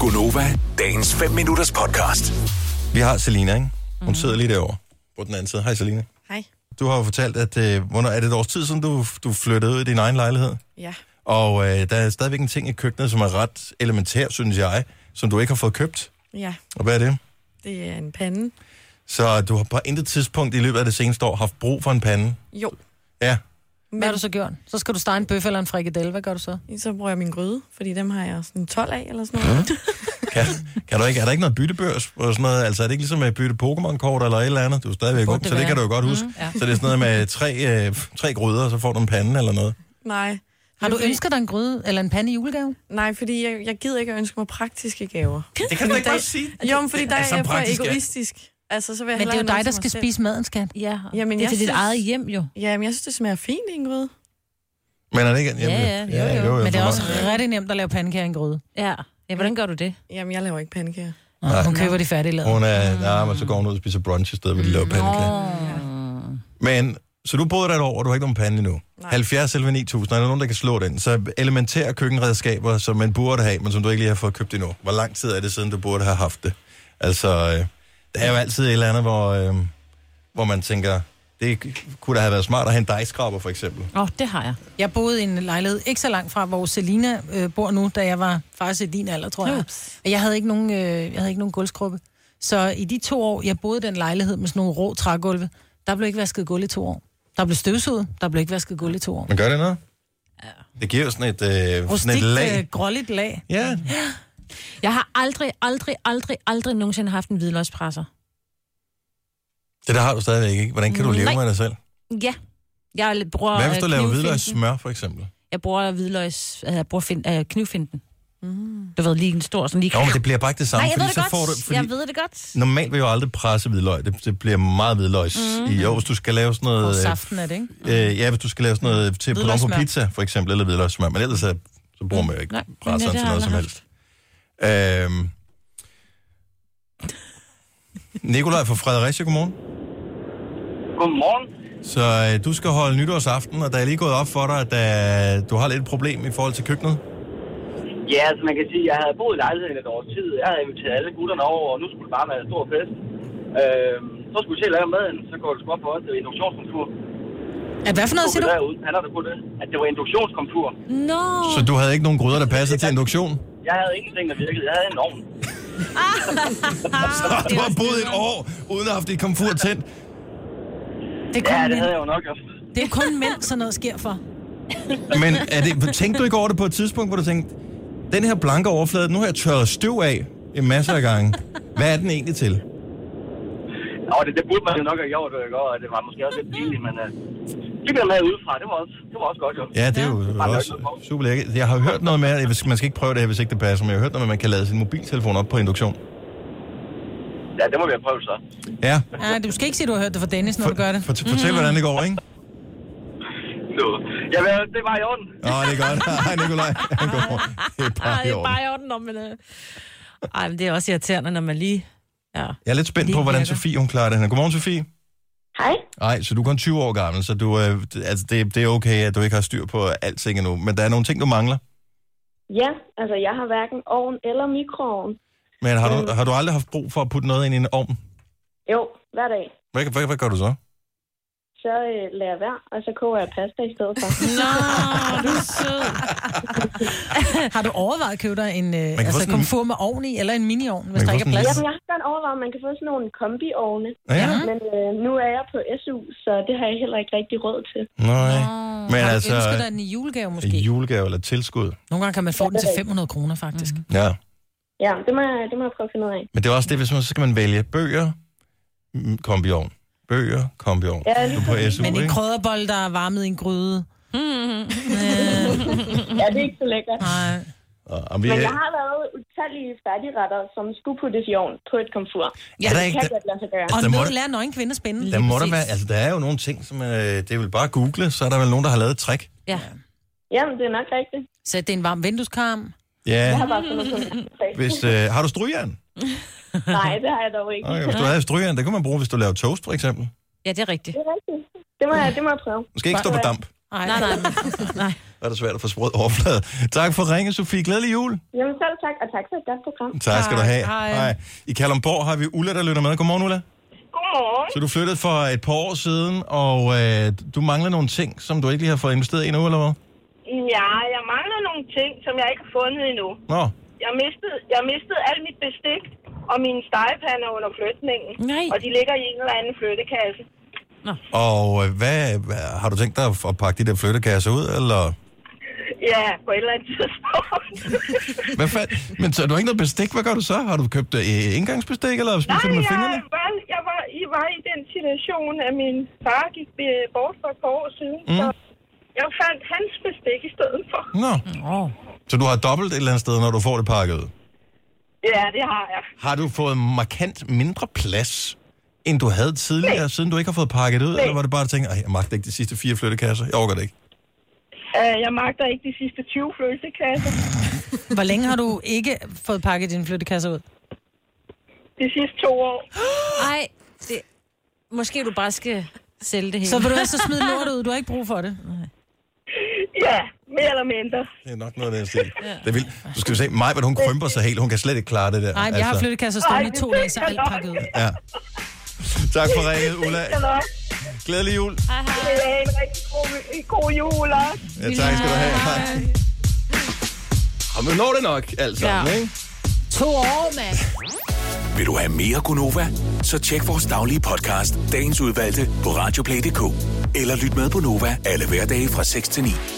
Gunova, dagens 5 minutters podcast. Vi har Selina, ikke? Hun sidder lige derovre på den anden side. Hej Selina. Hej. Du har jo fortalt, at øh, hvornår, er det et års tid siden, du, du flyttede ud i din egen lejlighed? Ja. Og øh, der er stadigvæk en ting i køkkenet, som er ret elementær, synes jeg, som du ikke har fået købt. Ja, Og hvad er det? det er en pande. Så du har på intet tidspunkt i løbet af det seneste år haft brug for en pande. Jo, Ja, Hvad har du så gjort? Så skal du stege en bøf eller en frikadelle. Hvad gør du så? så bruger jeg min gryde, fordi dem har jeg sådan 12 af eller sådan noget. kan, kan du ikke, er der ikke noget byttebørs og sådan noget? Altså er det ikke ligesom at bytte Pokémon-kort eller et eller andet? Du er stadigvæk ung, det så det være. kan du jo godt huske. Mm, Mm, ja. ja. Så det er sådan noget med tre, øh, tre gryder, og så får du en pande eller noget. Nej. Har du Fordi- ønsket dig en gryde eller en pande i julegave? Nej, fordi jeg, jeg gider ikke at ønske mig praktiske gaver. Det kan du ikke Der- godt sige. Jo, men fordi der Altså, er jeg for praktisk, ja. egoistisk. Altså, så vil jeg Men det er hellere jo have dig, noget der til skal mig spise maden, skat. Ja, Jamen, det er jeg til dit synes- eget hjem jo. selv. Jamen, jeg synes, det smager fint i en gryde. Men er det ikke... Jamen, ja, jo, jo. Men det er for også mig. rigtig nemt at lave pandekager i en gryde. Ja. ja, hvordan gør du det? Jamen, jeg laver ikke pandekager. Nej. Hun køber de færdige lader. Hun er... Nej, men så går hun ud og spiser brunch i stedet, hvor de laver pandekager. Men, så du boede der et år, og du har ikke nogen pande endnu. Nej. 70 eller 9000, er der nogen, der kan slå den? Så elementære køkkenredskaber, som man burde have, men som du ikke lige har fået købt endnu. Hvor lang tid er det siden, du burde have haft det? Altså, øh, der er jo altid et eller andet, hvor, øh, hvor man tænker, det kunne da have været smart at have en dejskraber, for eksempel. Åh, oh, det har jeg. Jeg boede i en lejlighed ikke så langt fra, hvor Selina øh, bor nu, da jeg var faktisk i din alder, tror jeg. Ups. Og jeg havde ikke nogen, øh, jeg havde ikke nogen gulvskruppe. Så i de to år, jeg boede i den lejlighed med sådan nogle rå trægulve, der blev ikke vasket gulv i to år. Der blev støvsuget, der blev ikke vasket gulv i to år. Men gør det noget? Ja. Det giver jo sådan et, øh, sådan et Rustikt, lag. øh, gråligt lag. Ja, Jeg har aldrig, aldrig, aldrig, aldrig nogensinde haft en hvidløgspresser. det der har du stadigvæk ikke. Hvordan kan du leve Nej. med dig selv? Ja. Jeg l- bruger Hvad hvis øh, du laver knivfinten. hvidløg smør, for eksempel? Jeg bruger hvidløgs... øh, Jeg bruger fin, øh, knivfinden. Mm. Du ved, lige en stor sådan lige... Jo, men det bliver bare ikke det samme, Nej, jeg ved fordi det så godt. får du... Fordi Jeg ved det godt. Normalt vil jeg jo aldrig presse hvidløg. Det, det bliver meget hvidløgs Mhm. mm. i år, hvis du skal lave sådan Og noget... øh, saften er det, ikke? Øh, ja, hvis du skal lave sådan noget til bouillon på Hvidløgssmør. pizza, for eksempel, eller hvidløgssmør. Men ellers så, så bruger man jo ikke Nej, mm. men presseren det til har noget som jeg aldrig helst. Øhm. Nikolaj fra Fredericia, godmorgen. Godmorgen. Så øh, du skal holde nytårsaften, og der er lige gået op for dig, at øh, du har lidt et problem i forhold til køkkenet. Ja, altså man kan sige, jeg havde boet i lejligheden et års tid. Jeg havde inviteret alle gutterne over, og nu skulle det bare være en stor fest. Øh, så skulle vi selv lave maden, så går det sgu op for os. Det var induktionskomfur. At hvad for noget, siger du? Derude, han har da på det. At det var induktionskomfur. Nå! Så du havde ikke nogen gryder, der passede til induktion? Jeg havde ingenting, der virkede. Jeg havde en ovn. Og du har boet et år, uden at have haft dit komfur tændt. Det er Ja, kun, det mænd, havde jeg jo nok også. det er kun mænd, sådan noget sker for. Men er det, tænkte du ikke over det på et tidspunkt, hvor du tænkte, den her blanke overflade, nu har jeg tørret støv af en masse af gange. Hvad er den egentlig til? Og det, det burde man jo nok have gjort, ikke? og det var måske også lidt pinligt, men... Øh, det blev med udefra. Det var også, det var også godt, jo. Ja, det er jo også super lækkert. Jeg har hørt noget med, at hvis- man skal ikke prøve det her, hvis ikke det passer, men jeg har hørt noget med, at man kan lade sin mobiltelefon op på induktion. Ja, det må vi have prøvet så. Ja, Ja, du skal ikke sige, at du har hørt det fra Dennis, når du gør det. for, fortæl, hvordan det går, ikke? Nu. Ja, men det var i orden. Åh, det er godt. Hej, Nikolaj. Godmorgen. Det er Ej, bare i orden. bare i orden, når man... øh. Ej, men det er også irriterende, når man lige... Ja. Jeg er lidt spændt på, hvordan Sofie hun klarer det her. Godmorgen, Sofie. Hej. Nej, så du er kun 20 år gammel, så du, øh, d- altså det, det er okay, at du ikke har styr på alting endnu. Men der er nogle ting, du mangler. Ja, altså jeg har hverken ovn eller mikroovn. Men har du, har du aldrig haft brug for at putte noget ind i en ovn? Jo, hver dag. Hvad, hvad, hvad gør du så? Så øh, lader jeg være, og så koger jeg pasta i stedet for. Nå, du er sød. Har du overvejet at købe dig en øh, få altså, sådan en- komfur med ovn i, eller en miniovn, hvis kan der få ikke er sådan en- plads? Jamen, jeg har godt overvejet, om man kan få sådan nogle kombiovne. Ja. ja. Men øh, nu er jeg på SU, så det har jeg heller ikke rigtig råd til. Nej. Men Har du altså, ønsket dig den i julegave måske? en julegave eller tilskud. Nogle gange kan man få den til 500 kroner, faktisk. Mm. Ja. Ja, det må, jeg, det må jeg prøve at finde ud af. Men det er også det, hvis man, så skal man vælge bøger, mm, kombiovn. Bøger, kombiovn. Ja, Du lige er på SU, Men en ikke? krødderbold, der er varmet i en gryde. Ja, det er ikke så lækkert. Nej. Og, og vi, Men jeg har lavet utallige færdigretter, som skulle puttes i ovn på et komfur. er der Det ikke, kan der, godt lade sig gøre. Og Der må nu der- lærer nøgen kvinde at spænde. der, må der, være, altså, der er jo nogle ting, som øh, det er vel bare at google, så er der vel nogen, der har lavet et trick. Ja. Jamen, det er nok rigtigt. Sæt det i en varm vindueskarm. Jeg Ja, har bare fundet på en hvis, øh, har du strygjern? Nej, det har jeg dog ikke. Okay, hvis du havde strygjern, det kunne man bruge, hvis du laver toast, for eksempel. ja, det er rigtigt. Det er rigtigt. Det må jeg, det må jeg prøve. Du skal ikke stå på damp. Ej. Nej, nej. Men, nej. er det svært at få sprød overflade. Tak for ringen, Sofie. Glædelig jul. Jamen selv tak, og tak for et godt program. Tak skal du have. Hej. I Kalundborg har vi Ulla, der lytter med. Godmorgen, Ulla. Godmorgen. Så du flyttede for et par år siden, og øh, du mangler nogle ting, som du ikke lige har fået investeret i endnu, eller hvad? Ja, jeg mangler nogle ting, som jeg ikke har fundet endnu. Nå, Jeg mistede, jeg mistede alt mit bestik og mine stegepander under flytningen. Mm. Nej. Og de ligger i en eller anden flyttekasse. og øh, hvad, hvad har du tænkt dig at- at pakke de der flyttekasser ud, eller? Ja, på et eller andet tidspunkt. Hvad fanden? Men så har du ikke noget bestik, hvad gør du så? Har du købt øh, engangsbestik, eller spiser du Nej, med jeg fingrene? var, jeg var, I var i den situation, at min far gik øh, bort for et par år siden. Mm. Så jeg fandt hans bestik i stedet for. Nå. Så du har dobbelt et eller andet sted, når du får det pakket ud? Ja, det har jeg. Har du fået markant mindre plads, end du havde tidligere, Nej. siden du ikke har fået pakket ud? Nej. Eller var det bare, at du tænkte, "Ej, jeg magter ikke de sidste fire flyttekasser, jeg overgår det ikke. Uh, jeg magter ikke de sidste 20 flyttekasser. Hvor længe har du ikke fået pakket din flyttekasse ud? De sidste to år. Ej, det... Måske du bare skal sælge det hele. Så vil du altså smide lortet ud, du har ikke brug for det. Ja, mere eller mindre. Det er nok noget, der er stil. Ja. Det er vildt. Du skal jo se, Maj, hun krymper sig helt, hun kan slet ikke klare det der. Altså, Nej, jeg har flyttekasser stående i to dage, så alt pakket ud. Ja. Tak for ringet, Ulla. Skal nok. Glædelig jul. Det er en rigtig god, god jul også. Ja, tak skal du have. Hej. Og man når det nok, altså. Ja. Ikke? To år, mand! Vil du have mere Gunova? Så tjek vores daglige podcast, dagens udvalgte, på radioplay.dk. Eller lyt med på Nova alle hverdage fra 6 til 9.